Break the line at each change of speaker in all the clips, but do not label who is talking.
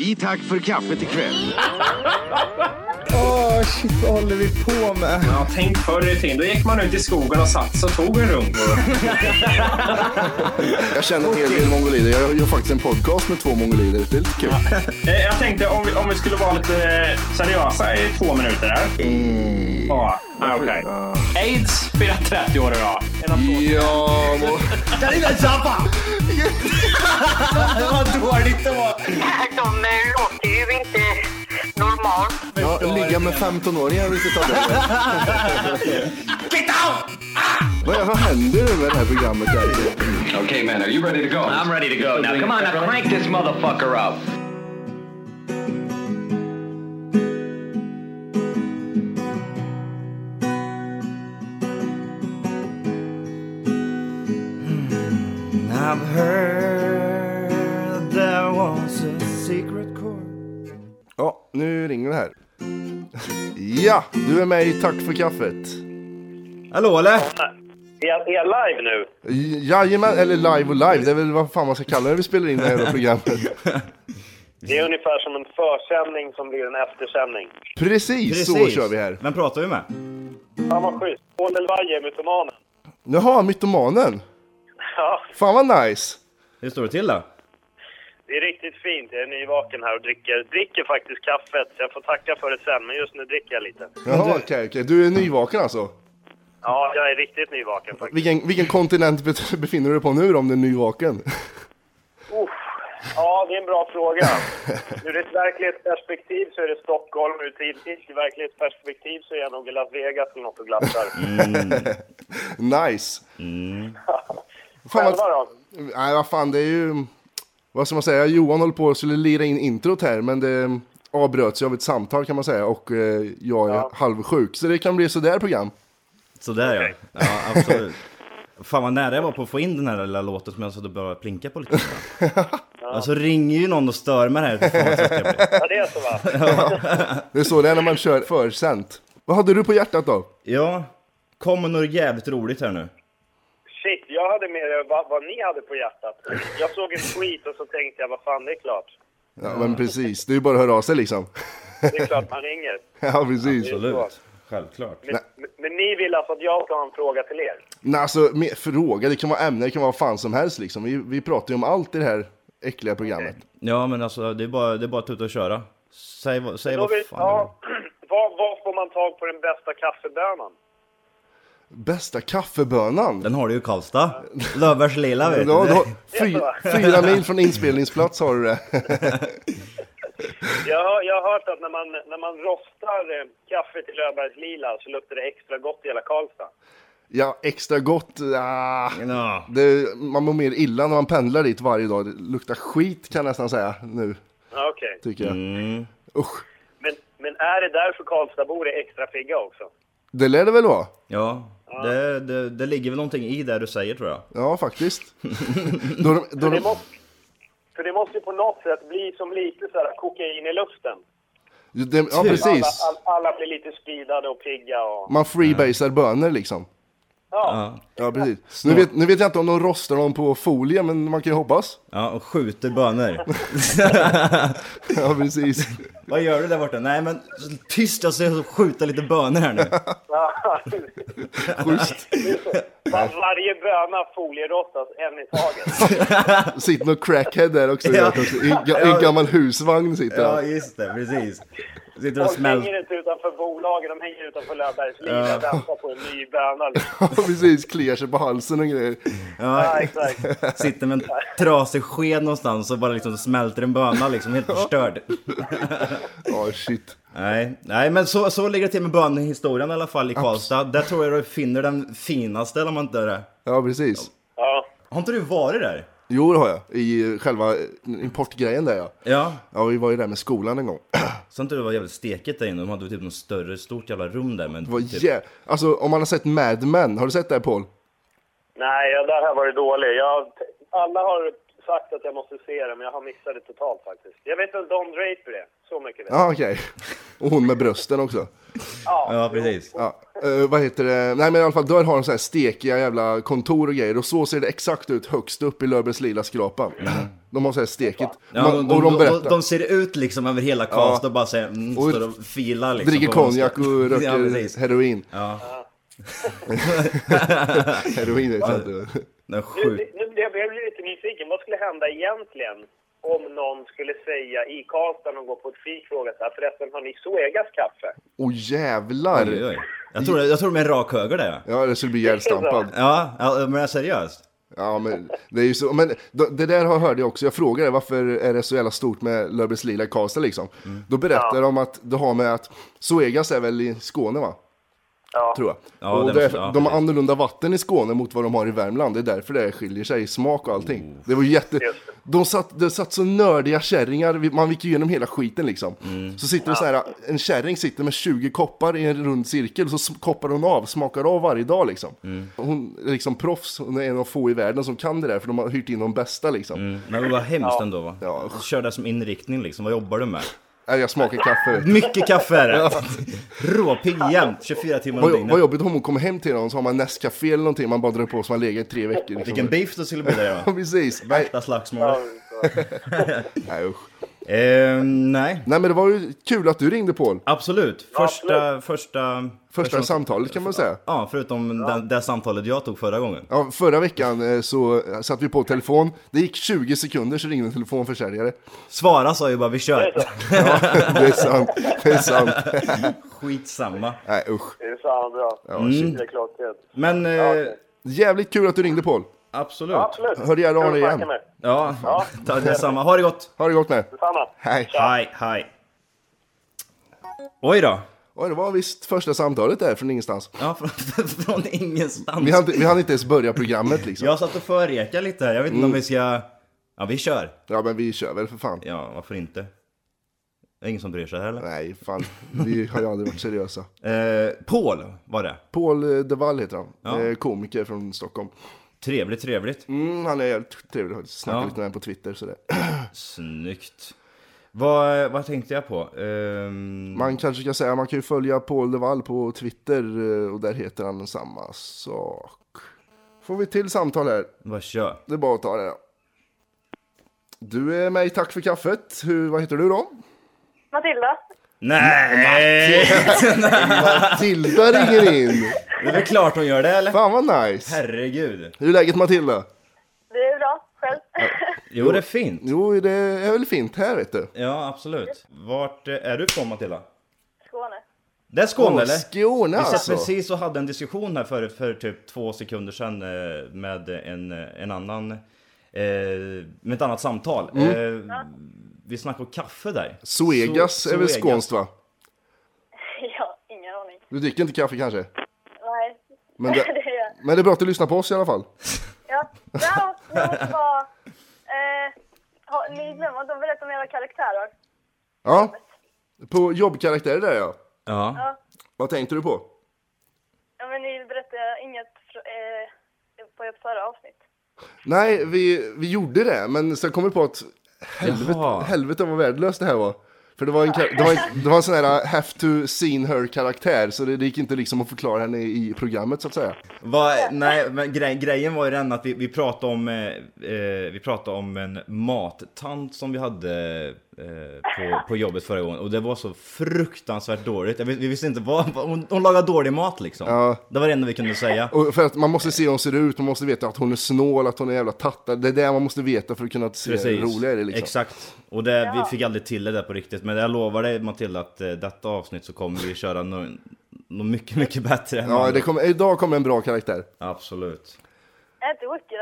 I tack för kaffet ikväll.
Åh, shit, vad håller vi på med?
Ja, tänk förr i tiden. Då gick man ut i skogen och satt sig och tog en runk.
Jag känner en hel del mongolider. Jag gör faktiskt en podcast med två mongolider. Det är lite kul.
Eh, Jag tänkte om vi, om vi skulle vara lite eh, seriösa i två minuter där. Ja, ah, okej. Aids firar 30 år idag. En applåd.
Ja, må...
Vad dåligt det var.
De eh, låter ju inte normalt.
ja, ligga med 15-åringar vill inte ta det. Get out! Vad, är- vad händer nu med det här programmet? Där?
Okay, man, are you ready to go? I'm ready to go. Now, come on, now crank this motherfucker up.
I've heard there was a secret chord.
Ja, nu ringer det här. Ja, du är med i Tack för kaffet.
Hallå eller?
Är jag live nu?
Jajamän, eller live och live. Det är väl vad fan man ska kalla det vi spelar in det här programmet.
Det är ungefär som en försändning som blir en eftersändning.
Precis, så kör vi här.
Vem pratar vi med?
Fan vad schysst. Paul Elvaje, mytomanen.
Jaha, Mytomanen.
Ja,
Fan vad nice.
Hur står det till då?
det är riktigt fint. Jag är nyvaken här och dricker, dricker faktiskt kaffet. Så jag får tacka för det sen, men just nu dricker jag lite.
Jaha, okej, okej. Du är nyvaken alltså?
Ja, jag är riktigt nyvaken faktiskt.
Vilken, vilken kontinent bet- befinner du dig på nu då, om du är nyvaken?
Uff. Ja, det är en bra fråga. Ur ett verklighetsperspektiv så är det Stockholm. Ur ett verklighetsperspektiv så är jag nog i Las Vegas eller något och glassar.
nice. Fan, vad,
Själva då?
nej, vad fan, det är ju... Vad ska man säga? Johan håller på och skulle lira in introt här, men det avbröts ju av ett samtal kan man säga. Och eh, jag är halvsjuk, så det kan bli sådär program.
Sådär ja. Ja, absolut. Fan vad nära jag var på att få in den här lilla låten som jag satt och började plinka på lite grann. Alltså ringer ju någon och stör mig här. Fan, vad trött jag blir.
Ja, det är så va?
Det är så det är när man kör försänt. Vad hade du på hjärtat då?
Ja, kom med något jävligt roligt här nu.
Shit, jag hade mer vad, vad ni hade på hjärtat. Jag såg en tweet och så tänkte jag, vad fan, det är klart.
Ja, men precis. Det är ju bara att höra av sig liksom.
Det är klart man ringer.
Ja, precis.
Absolut. Självklart.
Men, men ni vill alltså att jag ska ha en fråga till er?
Nej, alltså, med, fråga, det kan vara ämne, det kan vara vad fan som helst liksom. Vi, vi pratar ju om allt i det här äckliga programmet.
Ja men alltså det är bara, det är bara att tuta och köra. Säg, vad- säg
Då
vad
vill,
fan du vill.
ja, var, var får man tag på den bästa kaffebönan?
Bästa kaffebönan?
Den har du ju i Karlstad. Lövers lila vet
Du har, du har,
du.
fy, fyra mil från inspelningsplats har du det.
Jag, har- jag har hört att när man, när man rostar eh, kaffet i Löfbergs Lila så luktar det extra gott i hela Karlstad.
Ja, extra gott. Ah.
Ja.
Det, man mår mer illa när man pendlar dit varje dag. Det luktar skit kan jag nästan säga nu,
Ja, Okej.
tycker jag.
Mm.
Usch,
Men, men är det därför Karlstadbor är extra pigga också?
det lär det väl vara?
Ja, det, det, det ligger väl någonting i det du säger tror jag.
Ja, faktiskt. då de, då
För det,
de,
måste, för det måste ju på något sätt bli som lite så här kokain i luften.
de, ja, precis.
Alla, alla, alla blir lite speedade och pigga och...
Man freebasar bönor liksom.
Ja,
Ja, precis. Nu vet, nu vet jag inte om de rostar dem på folie, men man kan ju hoppas.
Ja, och skjuter bönor.
Ja, precis.
Vad gör du där borta? Nej men så tyst jag ska skjuta lite bönor här nu.
ja.
Schysst.
Var, varje böna folierottas en i taget.
Sitter någon crackhead där också.
Ja.
också. I, en ga- i en gammal husvagn sitter han.
Ja just det, precis. Sitter och
Folk hänger
smälter.
inte utanför bolagen, de hänger utanför Löfbergs Liv och väntar på en ny böna. liksom.
Ja, precis. Kliar sig på halsen och grejer.
Ja, exakt.
Sitter med en trasig sked någonstans och bara liksom smälter en böna liksom helt förstörd.
Ja, shit.
Nej, nej men så, så ligger det till med bönhistorien i alla fall i Karlstad. Där tror jag du finner den finaste eller om man inte är det.
Ja, precis.
Ja.
Har inte du varit där?
Jo, det har jag. I eh, själva eh, importgrejen där, ja.
Ja.
Ja, vi var ju där med skolan en gång.
Sen inte det var jävligt stekigt där inne. De hade ju typ något större, stort jävla rum där men
Det var
typ...
jä... Alltså, om man har sett Mad Men, har du sett det, Paul?
Nej, jag där har varit dålig. Jag, alla har sagt att jag måste se det, men jag har missat det totalt faktiskt. Jag vet vem Don Draper är, så mycket vet jag.
Ja, okej. Och hon med brösten också.
Ja, precis.
Ja, eh, vad heter det? Nej men i alla fall, där har de så här stekiga jävla kontor och grejer. Och så ser det exakt ut högst upp i Löfbergs lila skrapa. De har så här stekigt.
Mm. Ja,
Man-
de,
och de
de, de,
berättar.
de ser ut liksom över hela cast och bara säger, mm,
Och
står och filar liksom.
Dricker
på vad de ska-
konjak och
ja,
röker
precis.
heroin.
Ja.
Heroin är sant.
Den
Nu,
sjuk...
nu, jag blev lite nyfiken. Vad skulle hända egentligen om någon skulle säga i Karlstad och gå på ett fik fråga så här, förresten har ni Zoegas kaffe?
Åh jävlar.
Oj, oj. Jag tror, jag tror de är en rak höger där. ja.
Ja, det skulle bli ihjälstampad.
Ja, ja, men seriöst.
Ja, men det är ju så. Men d- det där har- hörde jag också. Jag frågade varför är det så jävla stort med Löfbergs Lila i Karlstad liksom.
Mm.
Då berättar de att det har med att Zoegas är väl i Skåne va?
Ja.
Tror jag.
Ja,
och
det
det,
måste- ja,
de har
precis.
annorlunda vatten i Skåne mot vad de har i Värmland. Det är därför det skiljer sig i smak och allting. Det var ju jätte... De satt, det satt så nördiga kärringar. Vi- Man gick ju igenom hela skiten liksom.
Mm.
Så sitter det så här, en kärring sitter med 20 koppar i en rund cirkel. Så sm- koppar hon av, smakar av varje dag liksom.
Mm.
Hon är liksom proffs. Hon är en av få i världen som kan det där. För de har hyrt in de bästa liksom.
Men vad hemskt ändå va?
Ja.
Kör det som inriktning liksom, vad jobbar du med?
Nej, Äh, Jag smakar kaffe. vet du.
Mycket kaffe är det! Råpigg jämt, 24 timmar om
Vad, vad
dygnet.
jobbigt om hon kommer hem till någon så har man Nescafé eller någonting. Man bara drar på så man lägger i tre veckor. Liksom.
Vilken beef det skulle bli där
Ja,
va?
precis. Nej,
Värsta slagsmålet.
nej, usch.
Ehm, nej.
Nej men det var ju kul att du ringde Paul.
Absolut. Första, första...
Första samtalet kan man säga.
Ja, förutom det, det samtalet jag tog förra gången.
Ja, förra veckan eh, så satt vi på telefon. Det gick 20 sekunder så ringde en telefonförsäljare.
Svara sa ju bara vi kör.
Ja, det är sant. Det är sant.
Skitsamma.
Nej usch.
Det är fan bra.
shit.
Det är klockrent.
Men eh,
okej.
Jävligt kul att du ringde Paul.
absolut.
Absolut.
Hör gärna av
Kul att
dig
snacka
igen.
med.
Ja, ja. detsamma. Ha det gott.
Ha det gott med.
Detsamma.
Hej.
Hej, hej. Oj då.
Ja, det var visst första samtalet där från ingenstans.
Ja, från, från ingenstans.
Vi hann, inte- vi hann inte ens börja programmet liksom.
Jag satt och förrekade lite här. Jag vet inte
Mm.
om vi ska... Ja, vi kör.
Ja men vi kör väl för fan.
Ja, varför inte? Det är ingen som bryr sig här eller?
Nej fan, vi har ju aldrig varit seriösa.
Eh, Paul var det.
Paul eh, De Wall heter han.
Ja.
Eh, Komiker från Stockholm.
Trevligt, trevligt.
Mm, han är jävligt trevlig. Snackar
Ja.
lite med honom på Twitter sådär.
Snyggt. Vad, vad tänkte jag på? Ehm,
Man kanske ska säga, man kan ju följa Paul Devall på Twitter eh, och där heter han samma sak. Får vi till samtal här.
Vad kör?
Det är bara att ta det. då. Du är med i Tack för kaffet. Hur, vad heter du då?
Matilda?
Nej!
Matilda ringer in.
Det är väl klart hon gör det eller?
Fan vad nice.
Herregud.
Hur är läget Matilda?
Det är bra. Själv?
Jo, det är fint.
Jo, det är väl fint här vet du.
Ja, absolut. Vart eh, är du ifrån Matilda?
Skåne.
Det är Skåne
Åh,
eller?
Skåne
Vi satt
alltså.
precis och hade en diskussion här för, för typ två sekunder sedan eh, med en, en annan, eh, med ett annat samtal. Eh, vi snackade om kaffe där.
Suegas
So-
Mm. är väl
Zoegas.
skånskt va?
Ja, ingen aning.
Du dricker inte kaffe kanske?
Nej.
Men det,
Det är
men det är bra att du lyssnar på oss i alla fall.
Ja. Bra. Jag måste bara... Eh, ha, ni glömmer inte att berätta om era karaktärer.
Ja. På jobbkaraktärer där ja.
Ja.
Vad tänkte du på?
Ja, men ni berättade inget fr- eh, på ert förra avsnitt.
Nej, vi, vi gjorde det, men sen kom vi på att
Jaha.
helvete, helvete vad värdelöst det här var. För det var en, kar- det var en, det var en sån här uh, have to seen her karaktär, så det, det gick inte liksom att förklara henne i programmet så att säga.
Va, nej, men grej, grejen var ju den att vi, vi, pratade om, eh, eh, vi pratade om en mattant som vi hade eh, på, på jobbet förra gången och det var så fruktansvärt dåligt. Jag, vis- vi visste inte vad, vad hon, hon lagade dålig mat liksom.
Ja.
Det var det enda vi kunde säga.
Och för att man måste se hur hon ser ut, man måste veta att hon är snål, att hon är jävla tattad. Det är det man måste veta för att kunna se det roliga i det liksom.
Exakt. Och det, vi fick aldrig till det där på riktigt. Men jag lovar dig Matilda att eh, detta avsnitt så kommer vi köra något no mycket, mycket bättre. än
Ja,
andra.
det kom, idag kommer en bra karaktär.
Absolut.
Är inte Wookie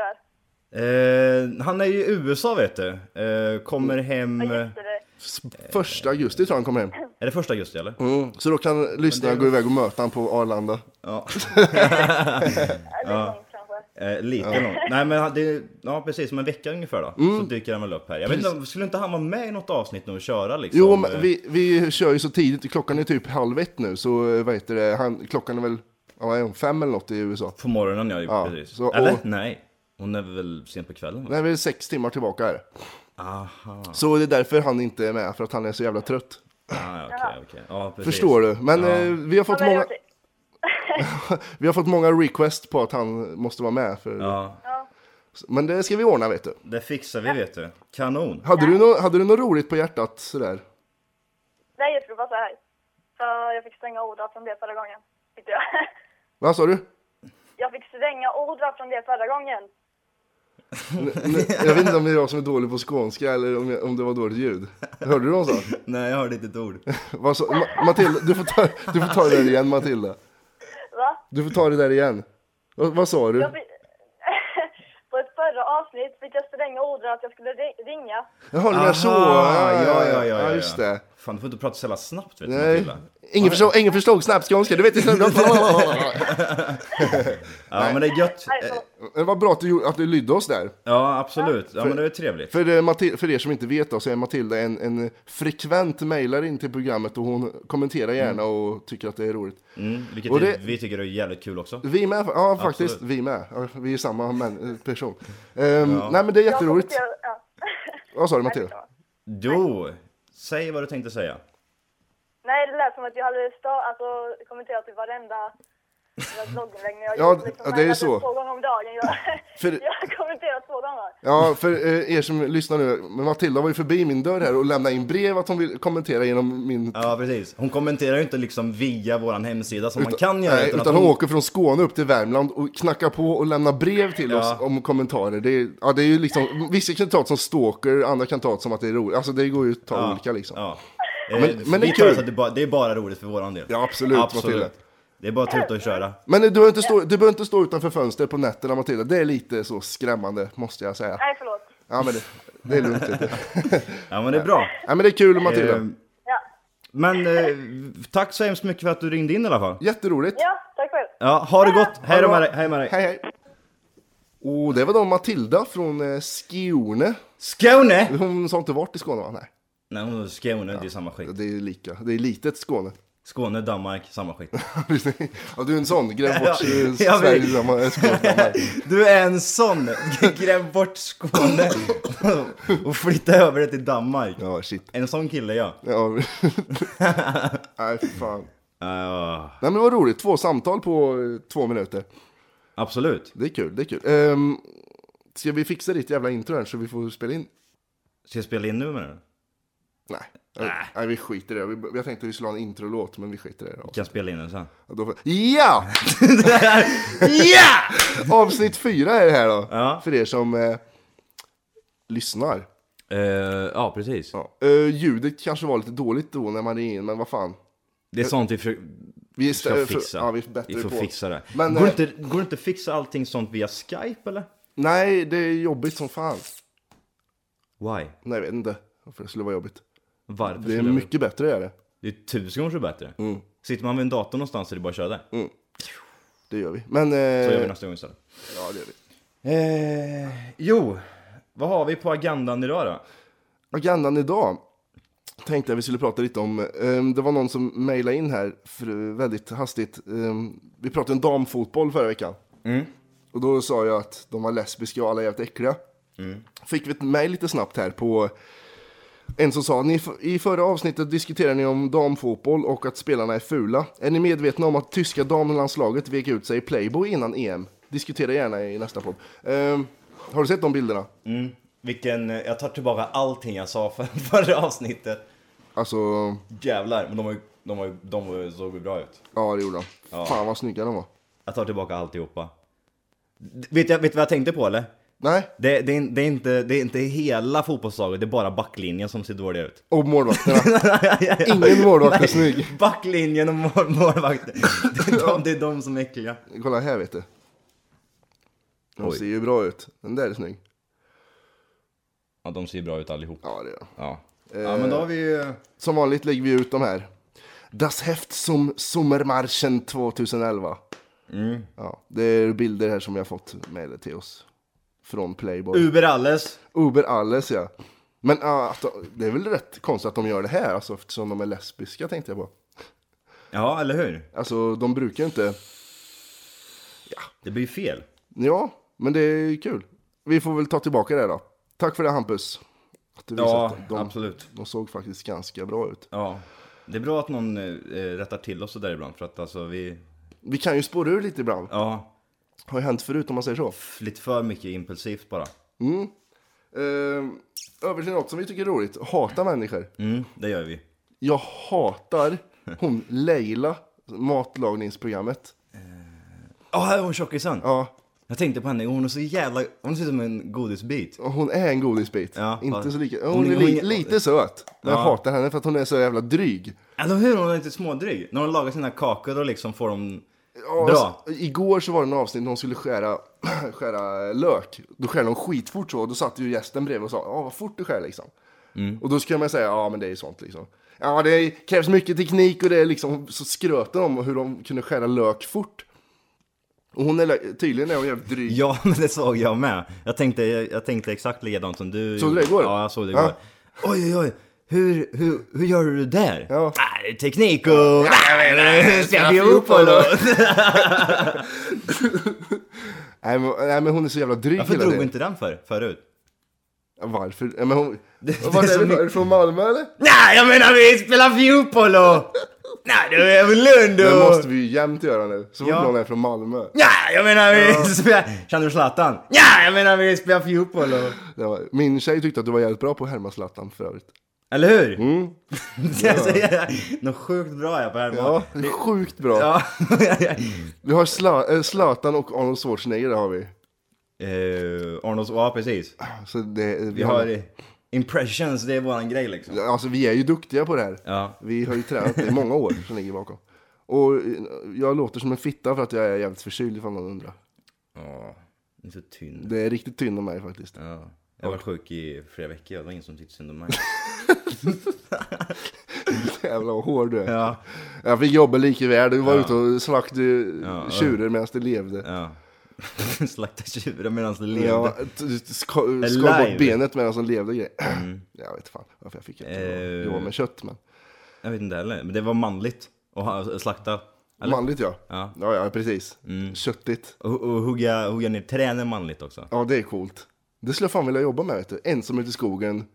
där?
Eh, han är ju i USA vet du. Eh,
Mm.
kommer hem... eh,
Just det.
Första augusti tror jag han kommer hem.
Är det första augusti eller?
Mm. Så då kan lyssnarna gå iväg och möta honom på Arlanda.
Ja.
Ja, det är långt kanske.
Eh, lite långt. Nej men han- det, är- ja precis, om en vecka ungefär då.
Mm.
Så dyker han väl upp här. Jag vet inte, skulle inte han vara med i något avsnitt nu och köra liksom?
Jo, men
Eh,
vi, vi kör ju så tidigt. Klockan är typ halv ett nu, så eh, vad heter det? Han, klockan är väl ja, vad är hon, fem eller något i USA.
På morgonen ja,
Ja,
precis.
så-
eller?
och-
Nej. Hon är väl sent på kvällen? Va?
Nej, vi är sex timmar tillbaka här. Aha. Så det är därför han inte är med, för att han är så jävla trött.
Ah, okej, okej. Ja, precis.
Förstår du? Men
Ja.
eh, vi, har fått
Ja, men
många,
jag-
vi har fått många request på att han måste vara med. För,
Ja,
Men det ska vi ordna vet du.
det fixar vi vet du. Kanon.
Hade, du, nå- hade du något roligt på hjärtat sådär?
Nej, jag skulle bara säga hej. Så jag fick stränga ord från det förra gången. Tyckte jag.
Vad sa du?
Jag fick stränga ord från det förra gången.
Nej, Jag vet inte om det är jag som är dålig på skånska eller om, jag, om det var dåligt ljud. Hörde du vad hon sa?
Nej, jag hörde inte ett ord.
Vad sa? Ma- Matilda, du får, ta, du får ta det där igen Matilda.
Va?
Du får ta det där igen. Vad, vad sa du?
Jag fick... På ett förra avsnitt fick jag stränga ord att jag skulle ri- ringa.
Jaha, det var så.
Aha, ja, ja, ja, ja.
ja, just det.
Fan, du får inte prata så jävla snabbt vet du
Nej.
Matilda.
Ingen förstod, ingen förstod snabbskånska, du vet inte.
Ja, men det är gött.
Eh,
Nej, så...
Men Vad bra att du, gjorde- att du lydde oss där.
Ja, absolut. Ja, men det är trevligt.
För, eh, Mati- för er som inte vet då, så är Matilda en, en frekvent mejlare in till programmet och hon kommenterar gärna och tycker att det är roligt.
Mm, vilket
Och det-
vi tycker är jävligt kul också.
Vi med, ja faktiskt,
Absolut.
vi med. Ja, vi är samma män, person. Ehm, Nej men det är jätteroligt.
Jag kommenterar- ja.
Vad sa du Matilda?
Jo, säg vad du tänkte säga.
Nej, det lät som att jag hade stå, alltså, kommenterat i varenda varenda blogginlägg när jag
Ja,
gjort,
ja, det är
jag
så.
gjort typ Två gånger om dagen. Jag,
För-
jag har kommenterat två gånger.
Ja, för eh, er som lyssnar nu, men Matilda var ju förbi min dörr här och lämnade in brev att hon vill kommentera genom min...
Ja, precis. Hon kommenterar ju inte liksom via våran hemsida som man kan göra.
Nej,
att
utan hon åker från Skåne upp till Värmland och knackar på och lämnar brev till oss om kommentarer. Det är, ja, det är ju liksom, vissa kan ta det som stalker, andra kan ta det som att det är roligt. Alltså det går ju att ta olika liksom.
Ja.
men
Men,
det är
vi tar det
kul.
så att det, bara, det är bara roligt för våran del.
Ja, absolut, Matilda.
Det är bara att tuta och köra.
Men du behöver, inte stå, du behöver inte stå utanför fönstret på nätterna Matilda, det är lite så skrämmande måste jag säga.
Nej, förlåt.
Ja men det, det är lugnt. vet du.
Ja, men det är bra.
Ja men det är kul Matilda.
Ehm,
Ja,
Men eh, tack så hemskt mycket för att du ringde in i alla fall.
Jätteroligt.
ja tack själv.
Ja, ha det gott. Hej då med dig. Hej med dig.
Hej hej. Och det var då Matilda från eh, Skåne.
Skåne!
Hon sa inte vart i Skåne va? Nej.
Nej, hon är Skåne, det är samma skit.
Det är ju lika. Det är litet Skåne.
Skåne, Danmark, samma skit.
ja, du är en sån. Gräv bort
Ja,
eh,
jag
Sverige
vet.
samma eh, Skåne. Nej.
Du är en sån! Gräv bort Skåne och flytta över det till Danmark.
Ja shit.
En sån kille ja.
Ja. Nej för fan.
Ja,
Nej men vad roligt. Två samtal på eh, två minuter.
absolut.
Det är kul. Det är kul. Ehm, ska vi fixa ditt jävla intro här så vi får spela in?
Ska jag spela in nu menar du?
Nej. Nej. Nej, vi skiter i det. Vi- Jag tänkte vi skulle ha en introlåt, men vi skiter i det. då.
Kan jag spela in den sen?
Ja, Då får... Ja!
Ja!
Avsnitt fyra är det här då.
Ja.
För er som eh, lyssnar.
Eh, ja, precis.
Ja. Eh, ljudet kanske var lite dåligt då när man ringde in, men vad fan.
Det är sånt vi försöker...
Vi är
ska
stä- för-
fixa.
Ja, vi är bättre
får
på.
fixa det.
Men,
går,
eh,
inte, går inte fixa allting sånt via Skype eller?
Nej, det är jobbigt som fan.
Why?
Nej, jag vet inte varför det skulle vara jobbigt.
Varför
Det är
skulle jag-
mycket Mm. bättre är det.
Det är tusen gånger så bättre. Sitter man vid en dator någonstans så är det bara att köra där.
Det gör vi. Men... Eh,
Så gör vi nästa gång istället.
ja, det gör vi.
Eh, jo, vad har vi på agendan idag då?
Agendan idag tänkte jag vi skulle prata lite om. ehm, det var någon som mejlade in här för, eh, väldigt hastigt. Ehm, vi pratade om damfotboll förra veckan. Och då sa jag att de var lesbiska och alla jävligt äckliga. Fick vi ett mejl lite snabbt här på en som sa, ni, i förra avsnittet diskuterade ni om damfotboll och att spelarna är fula. Är ni medvetna om att tyska damlandslaget vek ut sig i Playboy innan EM? Diskutera gärna i nästa podd. Ehm, har du sett de bilderna?
Vilken, eh, jag tar tillbaka allting jag sa för, förra avsnittet.
Alltså,
Jävlar, men de, var ju, de, var ju, de var, ju- såg ju bra ut.
Ja, det gjorde de. Fan vad snygga de var.
Jag tar tillbaka alltihopa. D- Vet, jag, vet du vad jag tänkte på eller?
Nej,
Det, det, är, in- det, är inte, det är inte hela fotbollslaget, det är bara backlinjen som ser dålig ut.
och målvakterna. Ingen målvakt är snygg.
Backlinjen och mål, målvakten, det, är de, det är de som är äckliga.
Kolla här vet du. De
Oj.
ser ju bra ut. Den där är snygg.
Ja, de ser bra ut allihop.
Ja, det gör de. Eh,
Ja. Ja, men då har vi ju...
Som vanligt lägger vi ut de här. Das Heft som Sommermarschen 2011.
Mm.
Ja, det är bilder här som jag fått mejlet till oss. Från Playboy.
Uber alles.
Uber alles ja. Men ja, att de- det är väl rätt konstigt att de gör det här, alltså, eftersom de är lesbiska tänkte jag på.
Ja, eller hur?
Alltså, de brukar ju inte...
Det blir ju fel.
Ja, men det är kul. Vi får väl ta tillbaka det då. Tack för det Hampus. Att det visar
Ja,
att de,
absolut.
de såg faktiskt ganska bra ut.
Ja. Det är bra att någon eh, rättar till oss så där ibland för att alltså vi,
Vi kan ju spåra ur lite ibland.
ja,
Har ju hänt förut om man säger så.
f- lite för mycket impulsivt bara.
Ehm, över till något som vi tycker är roligt. Hata människor.
Mm, det gör vi.
Jag hatar hon Leila, matlagningsprogrammet.
Ja, här är hon tjockisen.
Ja,
Jag tänkte på henne, hon är så jävla, hon ser ut som en godisbit.
och hon är en godisbit.
Ja,
inte
fan.
så lika. Hon,
Hon-
är
hon-
li, lite söt. Men jag
Ja.
hatar henne för att hon är så jävla dryg.
Alltså hur hon är inte smådryg? När hon lagar sina kakor och liksom får dem
Ja,
bra.
alltså, igår så var det en avsnitt när hon skulle skära, skära lök. Då skär hon skitfort så. Då satt ju gästen bredvid och sa ja vad fort du skär liksom.
Mm.
Och då skulle man säga ja men det är ju sånt liksom. Ja det är- krävs mycket teknik och det är liksom så skröter de om hur de kunde skära lök fort. Och hon är tydligen är hon jävligt dryg.
Ja, men det såg jag med. Jag tänkte, jag, jag tänkte exakt likadant som du.
Såg du det igår?
Ja, jag såg det
Ja.
igår. Oj, oj, oj. Hur, hur, hur gör du det där?
Ja.
Ah, det är teknik och... Hur ska jag bli upp och
Nej, men, nej men hon är så jävla dryg
Varför drog vi
tiden.
inte den för, förut?
Varför? Ja, men hon...
det
Vart
är
är
så
vi?
mycket-
Är du från Malmö eller?
Nej, jag menar vi spelar Fiupolo! Nej, du är väl Lund
Det
och...
måste vi ju jämt göra nu. Så fort
Ja.
någon är från Malmö.
Nej, jag menar vi spelar... Känner du Zlatan? Nej, jag menar vi spelar Fiupolo!
Det var, min tjej tyckte att du var jävligt bra på att härma Zlatan för övrigt.
Eller hur? Mm. Något sjukt bra jag på Herman.
Ja, det är sjukt bra.
Ja.
Vi har Zla- eh, Zlatan och Arnold Schwarzenegger där har vi.
Eh, Arnolds, ja precis.
Så det, vi
Vi har impressions, det är våran grej liksom.
Alltså vi är ju duktiga på det här.
Ja.
Vi har ju tränat det i många år som ligger bakom. Och eh, jag låter som en fitta för att jag är jävligt förkyld ifall någon undrar.
Ja, den är så tynn.
Det är riktigt synd om mig faktiskt.
Ja. Jag var sjuk i flera veckor, det var ingen som tyckte synd om mig.
Jävlar vad hård du är.
Ja.
Jag fick jobba likväl. Du var ute och slaktade
Ja,
tjurar medan du levde.
ja. Slakta tjurar medan det levde.
Ja, t- t- ska- skar bort
Alive. Mm.
benet medan de levde och grejer. Jag vet fan varför jag fick det.
Eh.
Det var med kött men.
Jag vet inte heller, men det var manligt att ha- slakta. Eller? Mm.
Manligt ja.
Ja.
Ja, ja precis. Köttigt.
Och, och hugga, hugga ner träd är manligt också.
Ja, det är coolt. Det skulle jag fan vilja jobba med, vet du. Ensam ute i skogen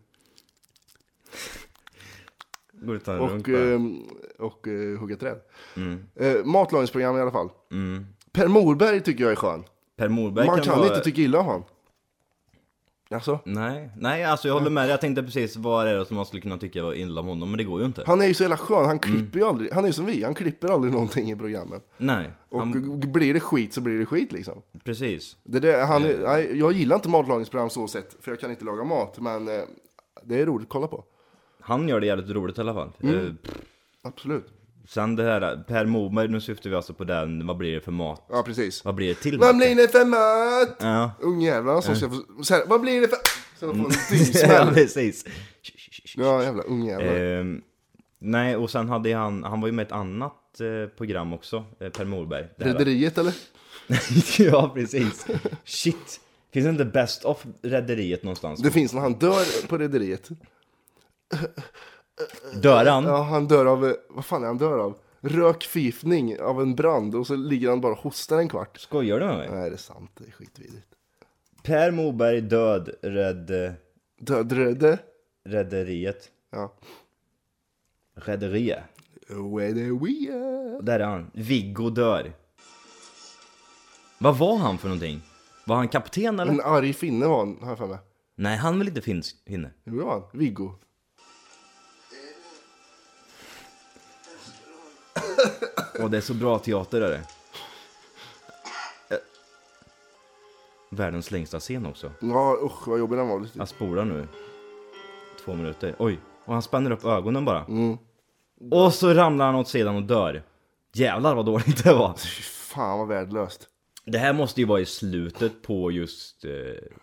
Går ut och tar en runk
och,
bara.
eh, och eh, hugga träd.
Mm.
Eh, matlagningsprogram i alla fall. Per Morberg tycker jag är skön.
Per Morberg
Man kan
Mm. vara...
inte tycka illa om han. Alltså,
Nej, nej alltså jag håller
Mm.
med dig. Jag tänkte precis vad är det som man skulle kunna tycka var illa om honom, men det går ju inte.
han är ju så jävla skön.
Mm.
Han klipper ju aldrig. Han är ju som vi. Han klipper aldrig någonting i programmen.
Nej,
Och
han,
blir det skit så blir det skit liksom.
precis.
Det där, han, är- nej, jag gillar inte matlagningsprogram så sett, för jag kan inte laga mat. Men eh, det är roligt att kolla på.
Han gör det jävligt roligt i alla fall.
Mm.
Eh,
Absolut.
Sen det här, Per Morberg, nu syftar vi alltså på den, vad blir det för mat?
Ja, precis.
Vad blir det till
Vad
mat?
blir det för mat?
Ja,
Ungjävlarna som ska få... Så här, vad blir det för... Så de får en
ja
dyngsmäll.
precis.
Ja, jävla ungjävlar.
Ehm, nej, och sen hade han, han var ju med i ett annat eh, program också, eh, Per Morberg. Det här-
Rederiet eller?
ja, precis. Shit. Finns det inte Best of Rederiet någonstans?
Det finns när han dör på Rederiet.
Dör han?
Ja, han dör av... eh, Vad fan är han dör av? Rökförgiftning av en brand och så ligger han bara och hostar en kvart.
Skojar du med mig?
Nej, det är sant. Det är skitvidrigt.
Per Morberg död, red,
Dödröde.
Rederiet.
Ja.
Rederiet.
Rederiet.
Och Där är han. Viggo dör. Vad var han för någonting? Var han kapten eller?
En arg finne var han, har jag för mig.
Nej, han är väl inte finsk hinne?
Jo, det var han. Viggo.
Åh, det är så bra teater är det. Eh, Världens längsta scen också.
Ja, usch vad jobbig den var.
Jag spolar nu. Två minuter. Oj, och han spänner upp ögonen bara. Och så ramlar han åt sidan och dör. Jävlar vad dåligt det var.
Fy fan vad värdelöst.
Det här måste ju vara i slutet på just eh,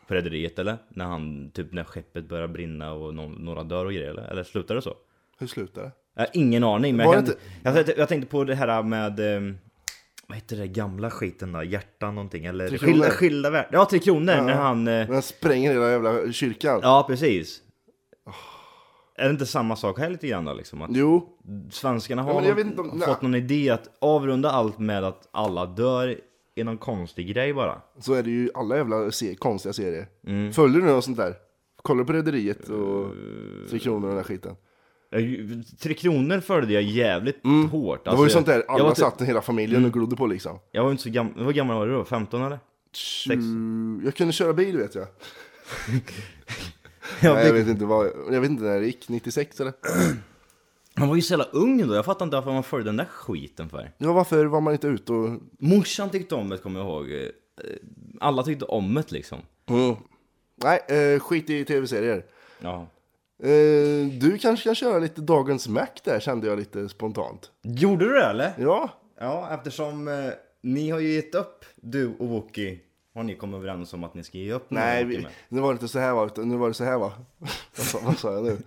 på rederiet eller? När han, typ när skeppet börjar brinna och någon, några dör och grejer eller? Eller slutar det så?
Hur slutar det?
Jag har ingen aning men
Var
jag,
det
kan, jag, tänkte- jag tänkte på det här med ehm, vad heter det gamla skiten då? Hjärta någonting eller?
Tre Kronor.
skilda, skilda världar. Ja, Tre Kronor när han... Eh,
Men han spränger hela jävla kyrkan.
ja, precis. Är det inte samma sak här lite grann då liksom? Att
Jo,
svenskarna
Ja,
har
men jag
någon-
vet inte om-
har fått någon idé att avrunda allt med att alla dör i någon konstig grej bara. Mm.
så är det ju alla jävla se konstiga serier. Följer du något sånt där? Kollar du på Rederiet och
Eh,
Tre Kronor och den här skiten?
Jag- ju- Tre Kronor följde jag jävligt hårt.
Mm. det var ju sånt där
alltså, jag, Mm. var
alla
inte-
satt hela familjen och glodde på liksom.
jag var inte så gammal. Hur gammal var du då? 15 eller? Sex.
Tju- Mm, Jag kunde köra bil vet jag.
Jag
Nej, jag
blev-
vet inte vad, jag vet inte när det gick, 96 eller?
Man var ju så jävla ung då. Jag fattar inte varför man följde den där skiten för.
Ja, varför var man inte ute och...
Morsan tyckte om det kommer jag ihåg. Eh, Alla tyckte om det liksom.
Mm. Nej, eh, skit i tv-serier.
Ja.
Eh, du kanske kan köra lite Dagens Mac där kände jag lite spontant.
Gjorde du det eller?
Ja,
Ja, eftersom eh, ni har ju gett upp, du och Wookie. Har ni kommit överens om att ni ska ge upp? nu,
nej,
Wookie,
vi,
med?
nu var det inte så här va, utan nu var det så här va. vad, sa, vad sa jag nu?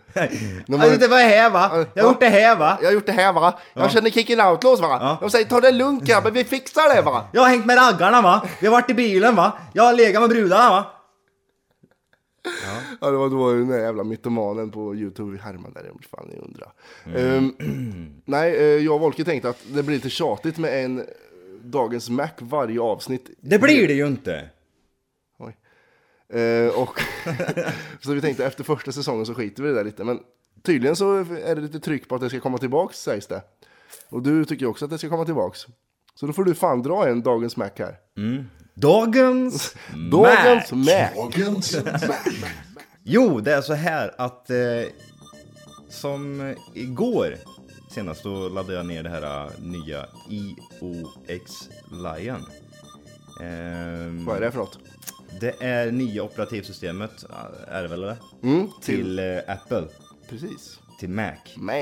Nu
Alltså, det var här va?
Ja.
Jag har gjort det här va?
Jag har gjort det här va, jag känner Kicking Outlaws va.
Ja.
De säger ta det lugnt grabben, vi fixar det va.
Jag har hängt med raggarna va? Vi har varit i bilen va? Jag har legat med brudarna va?
Ja, det var då den där jävla mytomanen på Youtube vi härmade där, om fan ni undrar.
Mm.
Ehm, nej, eh, jag och Volke tänkte att det blir lite tjatigt med en eh, Dagens Mac varje avsnitt.
Det blir det ju inte!
Oj. Eh, och så vi tänkte efter första säsongen så skiter vi i det där lite. Men tydligen så är det lite tryck på att det ska komma tillbaks sägs det. Och du tycker ju också att det ska komma tillbaks. Så då får du fan dra en Dagens Mac här.
Dagens
Mm. Dagens
Mac.
Mac!
Jo, det är så här att eh, som igår senast då laddade jag ner det här eh, nya IOX Lion. Ehm,
Vad är det för något?
Det är nya operativsystemet, eh, är det väl det?
Mm,
Till eh, Apple,
Precis.
till Mac.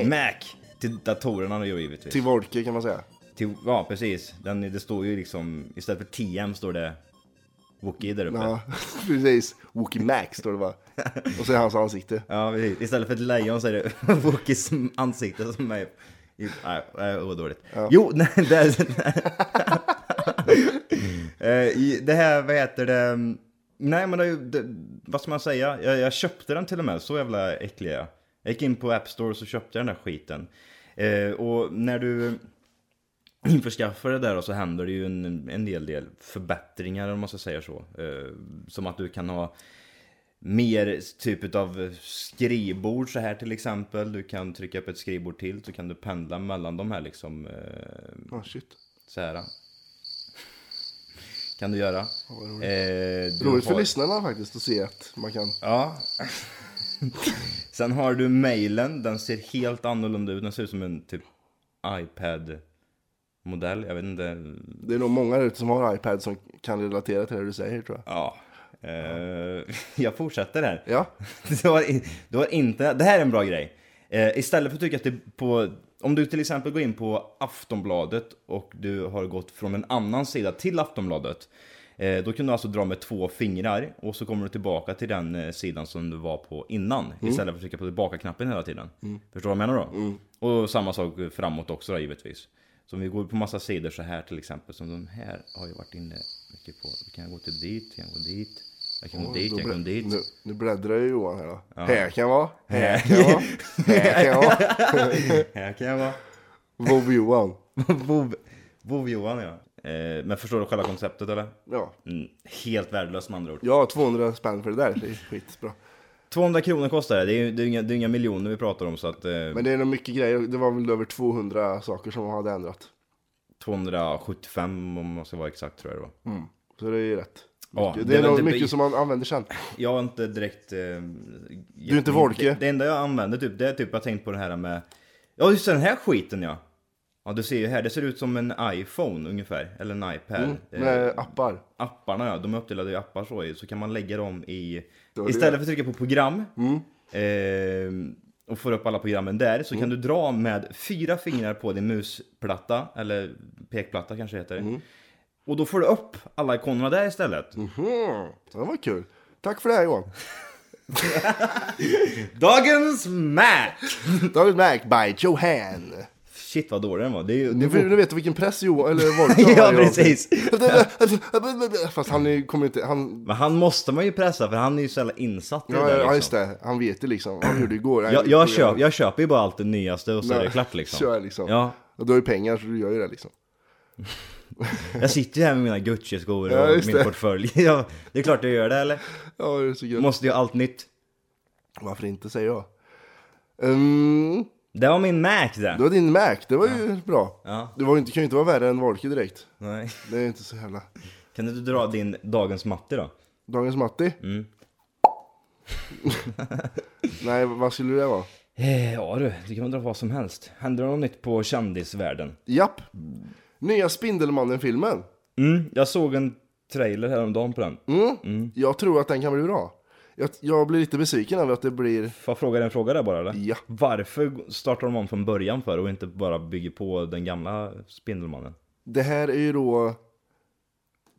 Mac.
Till datorerna då givetvis.
Till Volke kan man säga.
Till, ja precis, Den, det står ju liksom, istället för TM står det Wookie där uppe. Ja.
Ja, precis. Wookie Max står det bara. Och så är hans ansikte.
precis. Istället för ett lejon så är det Wookies ansikte som är... i- Nej, nej, vad dåligt. Jo, nej, det är... Eh, i- det här, vad heter det? Nej men det, är ju- det, vad ska man säga? Jag, jag köpte den till och med, så jävla äcklig är jag. Jag gick in på App Store och så köpte jag den där skiten. Eh, och när du införskaffar det där och så händer det ju en, en del, del förbättringar om man ska säga så. Eh, som att du kan ha mer typ av skrivbord så här till exempel. Du kan trycka upp ett skrivbord till så kan du pendla mellan de här liksom eh,
Oh, shit.
så här. Kan du göra. Eh, du
Roligt för
har-
lyssnarna faktiskt att se att man kan...
Ja. Sen har du mailen. Den ser helt annorlunda ut. Den ser ut som en typ iPad-modell. Jag vet inte.
Det är nog många där ute som har iPad som kan relatera till det du säger tror jag.
Ja. Eh, jag fortsätter här.
Ja,
Du har, in- du har inte, det här är en bra grej. Eh, istället för att tycka att det på, om du till exempel går in på Aftonbladet och du har gått från en annan sida till Aftonbladet. Eh, då kan du alltså dra med två fingrar och så kommer du tillbaka till den eh, sidan som du var på innan.
Mm.
Istället för att trycka på tillbaka-knappen hela tiden. Förstår du vad jag menar då? Och samma sak framåt också då, givetvis. Så om vi går på massa sidor så här till exempel, som de här har jag varit inne mycket på. Vi kan gå till dit, jag kan gå dit, jag kan gå dit,
då
jag
blä-
kan gå dit.
nu, nu bläddrar ju Johan här då. Här kan jag vara, här kan jag vara, här kan jag vara.
Här kan jag vara.
Vov Johan.
Vov, Vov Johan ja. Eh, men förstår du själva konceptet eller?
Ja.
Mm, helt värdelöst med andra ord.
ja, 200 spänn för det där. Det är skitbra.
200 kronor kostar det. Det är, ju- det är, inga, det är inga miljoner vi pratar om så att eh,
Men det är nog mycket grejer. Det var väl över 200 saker som man hade ändrat.
275 om man ska vara exakt tror jag det var.
Så det är ju rätt.
Ja,
det,
det
är
var
nog
inte-
mycket som man använder sen.
Jag har inte direkt... Eh, du
är inte Volke?
Det, det enda jag använder typ, det är typ jag har tänkt på det här med... Ja just det, den här skiten ja! Ja du ser ju här, det ser ut som en iPhone ungefär, eller en iPad.
Mm,
Eh,
Med appar.
apparna ja, de är uppdelade i appar så, i, så kan man lägga dem i...
Ja, det Mm.
Istället
gör.
för att trycka på program eh, och få upp alla programmen där
Mm.
så kan du dra med fyra fingrar på din musplatta, eller pekplatta kanske heter. Och då får du upp alla ikonerna där istället.
Mm. Det var kul. Tack för det här Johan.
Dagens Mac!
Dagens Mac by Johan.
Shit vad dålig den var. Det är ju... Det
Nu, får- nu vet du vilken press Johan, eller Volker har.
ja
Johan.
precis!
Fast han är- kommer inte, han,
Men han måste man ju pressa för han är ju så jävla insatt i det
ja,
där,
ja
liksom.
just det, han vet ju liksom, han gjorde igår.
Jag, jag, köp, jag köper ju bara allt det nyaste och så är det klart liksom.
Kör liksom.
Ja,
Och du har ju pengar så du gör ju det liksom.
Jag sitter ju här med mina Gucci-skor och
Ja, just
min
det.
portfölj. Ja, det är klart jag gör det eller?
Ja, det är så gött.
Måste ju ha allt nytt.
Varför inte, säger jag. Mm,
Det var min Mac där.
det var din Mac, det var ju bra.
Ja.
Det var ju inte, kan ju inte vara värre än Wolke direkt.
Nej.
Det är inte så jävla...
Kan du inte dra din dagens matte då?
Dagens Matti?
Mm.
Nej, vad skulle det vara?
Eh, ja du, det kan man dra vad som helst. Händer det något nytt på kändisvärlden?
Japp! Nya Spindelmannen-filmen.
Mm, jag såg en trailer häromdagen på den.
Mm. Jag tror att den kan bli bra. Jag, jag blir lite besviken över att det blir...
Får jag fråga dig en fråga där bara eller?
Ja.
Varför startar de om från början för och inte bara bygger på den gamla Spindelmannen?
Det här är ju då...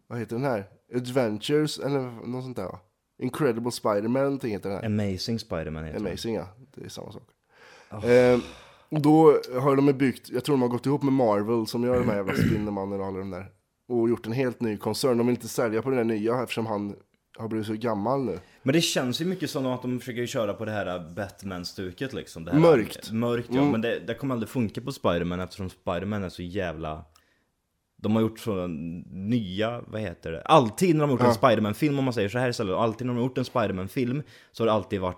Vad heter den här? Adventures eller något sånt där va? Incredible Spider-Man någonting heter den här.
Amazing Ah. Spiderman heter den.
Amazing ja, det är samma sak. Eh, och då har de byggt, jag tror de har gått ihop med Marvel som gör de här jävla Spindelmannen och alla de där. Och gjort en helt ny koncern. De vill inte sälja på den där nya eftersom han har blivit så gammal nu.
Men det känns ju mycket som att de försöker köra på det här Batman-stuket liksom. Det här
Mörkt.
Mörkt ja,
Mm.
men det, det kommer aldrig funka på Spiderman eftersom Spiderman är så jävla... De har gjort så nya, vad heter det? Alltid när de har gjort en Spiderman-film, om man säger så här istället, alltid när de har gjort en Spiderman-film så har det alltid varit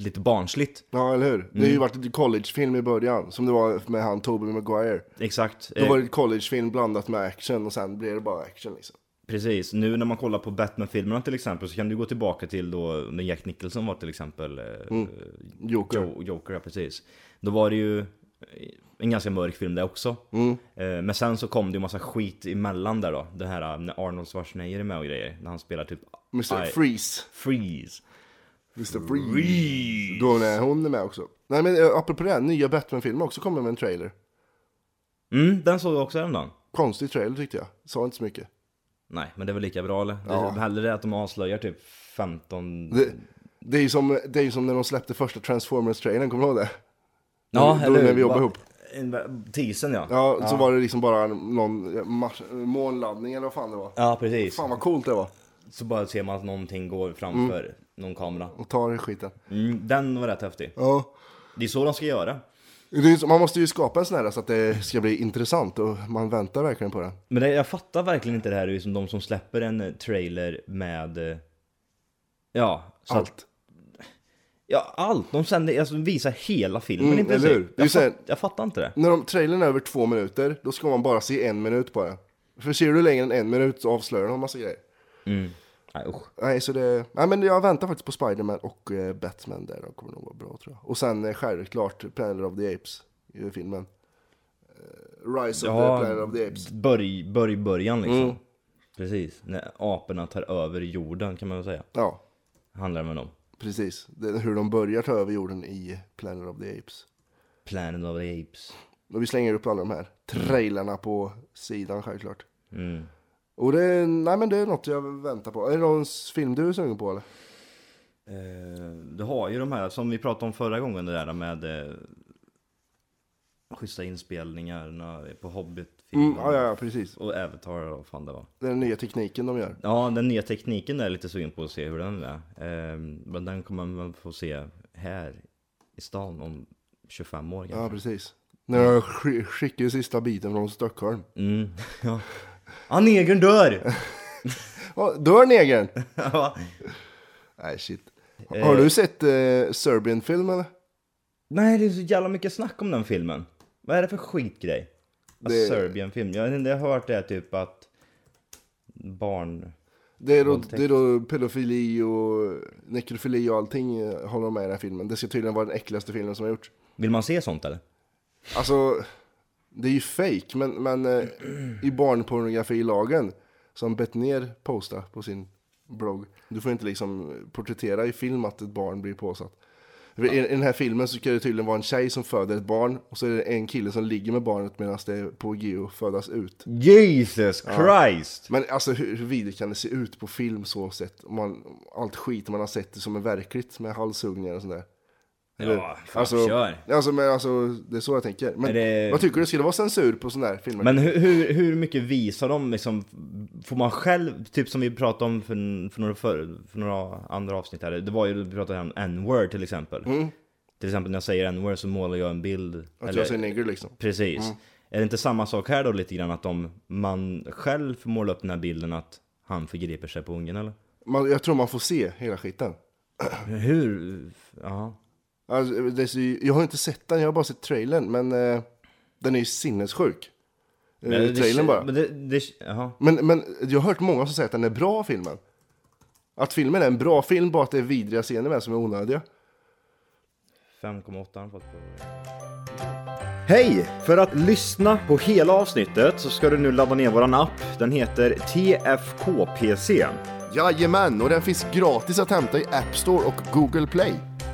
lite barnsligt.
Ja, eller hur? Det
Mm.
har ju varit en collegefilm i början, som det var med han Tobey Maguire.
Exakt.
Då
Eh,
var det collegefilm blandat med action och sen blev det bara action liksom.
Eh, Precis, nu när man kollar på Batman-filmerna till exempel så kan du gå tillbaka till då när Jack Nicholson var till exempel eh,
Mm. Joker.
Jo- Joker, ja precis. Då var det ju eh, en ganska mörk film det också.
Mm.
Eh, Men sen så kom det ju massa skit emellan där då. Det här eh, när Arnold Schwarzenegger är med och grejer. När han spelar typ...
Mr.
I-
Freeze.
Freeze.
Mr. Freeze. Då när hon är med också. Nej men eh, apropå det, här, nya Batman-filmen också kommer med en trailer.
Mm, den såg jag också häromdagen.
Konstig trailer tyckte jag. Sa inte så mycket.
Nej, men det är väl lika bra eller?
Ja.
Det, hellre det att de avslöjar typ 15...
Det, det, är ju som, det är ju som när de släppte första Transformers-trailern, kommer du ihåg det? då när vi jobbar
Va-
ihop.
en- Teasern ja. ja.
Ja, så var det liksom bara någon mars, månlandning eller vad fan det var.
precis.
Fan vad coolt det var.
Så bara ser man att någonting går framför
Mm.
någon kamera.
Och ta den skiten.
Mm, den var rätt häftig.
Ja.
Det är så de ska göra.
Det är ju så- man måste ju skapa en sån här så att det ska bli intressant och man väntar verkligen på den.
Men det, jag fattar verkligen inte det här liksom de som släpper en eh, trailer med... eh, Ja, så Att,
Allt.
ja, allt! De sänder, alltså, visar hela filmen
Mm,
i princip.
eller hur? Det är
Jag,
ju så här-
fatt, jag fattar inte det.
När de, trailern är över två minuter, då ska man bara se en minut på den. För ser du längre än en minut så avslöjar de en massa grejer.
Nej, usch.
Nej, så det... Nej, men jag väntar faktiskt på Spider-Man och eh, Batman där. De kommer nog vara bra, tror jag. Och sen eh, självklart Planet of the Apes i filmen. Eh, Rise of
Ja,
the Planet of the Apes. Mm.
Börj, börj, början liksom. Precis. När aporna tar över jorden kan man väl säga.
Ja,
Handlar det väl om.
precis. Det är hur de börjar ta över jorden i Planet of the Apes.
Planet of the Apes.
Och vi slänger upp alla de här trailerna på sidan, självklart. Och det, är- nej, men det är något jag väntar på. Är det någon film du är sugen på, eller?
Eh, Du har ju de här som vi pratade om förra gången det där med eh, schyssta inspelningarna på Hobbit-filmen.
Mm, ja, ja, ja, precis.
Och Avatar och vad fan det var.
Det är den nya tekniken de gör.
Ja, den nya tekniken är jag lite sugen på att se hur den är. Ehm, Men den kommer man få se här i stan om 25 år
Ja,
kanske.
precis. När jag sk- skickar sista biten från Stockholm.
Mm. Ja. Ah, negern dör!
Ja, dör negern!
Ja.
Nej, shit. Har du sett eh, Serbian-filmen? eller?
Nej, det är så jävla mycket snack om den filmen. Vad är det för skitgrej?
Det-
Det... Serbien-film. Jag, har- jag har hört det här typ att barn...
Det är, då,
Våldtäkt.
det är då pedofili och nekrofili och allting eh, håller de med i den här filmen. Det ska tydligen vara den äckligaste filmen som har gjorts.
Vill man se sånt eller?
Alltså, det är ju fake, men, men eh, i barnpornografilagen som Betnér postar på sin blogg. Du får inte liksom porträttera i film att ett barn blir påsatt. I, I den här filmen så ska det tydligen vara en tjej som föder ett barn och så är det en kille som ligger med barnet medan det är på geo födas ut.
Jesus Christ!
Men alltså hur, hur vidrigt kan det se ut på film så sett? Om man, allt skit man har sett det som är verkligt med halshuggningar och sånt där.
Ja, fan,
alltså,
kör!
Alltså, men, alltså, det är så jag tänker. Men
Är det-
vad tycker du? Skulle det vara censur på sådana här filmer?
Men hur, hur, hur mycket visar de liksom, får man själv, typ som vi pratade om för, för, några, för, för några andra avsnitt här, det var ju, vi pratade om n-word till exempel. Till exempel när jag säger n-word så målar jag en bild.
Mm. Att jag säger nigger liksom.
precis. Är det inte samma sak här då lite grann att om man själv får måla upp den här bilden att han förgriper sig på ungen eller?
Man, jag tror man får se hela skiten.
Hur? Ja.
Alltså, det är så, jag har inte sett den, jag har bara sett trailern. Men eh, den är ju sinnessjuk. Eh,
Men det-
trailern bara.
Men det, det, jaha.
Men, men jag har hört många som säger att den är bra, filmen. Att filmen är en bra film, bara att det är vidriga scener med som är onödiga.
5,8 har han fått på...
Hej! För att lyssna på hela avsnittet så ska du nu ladda ner våran app. Den heter TFKPC.
Jajamän, och den finns gratis att hämta i App Store och Google Play.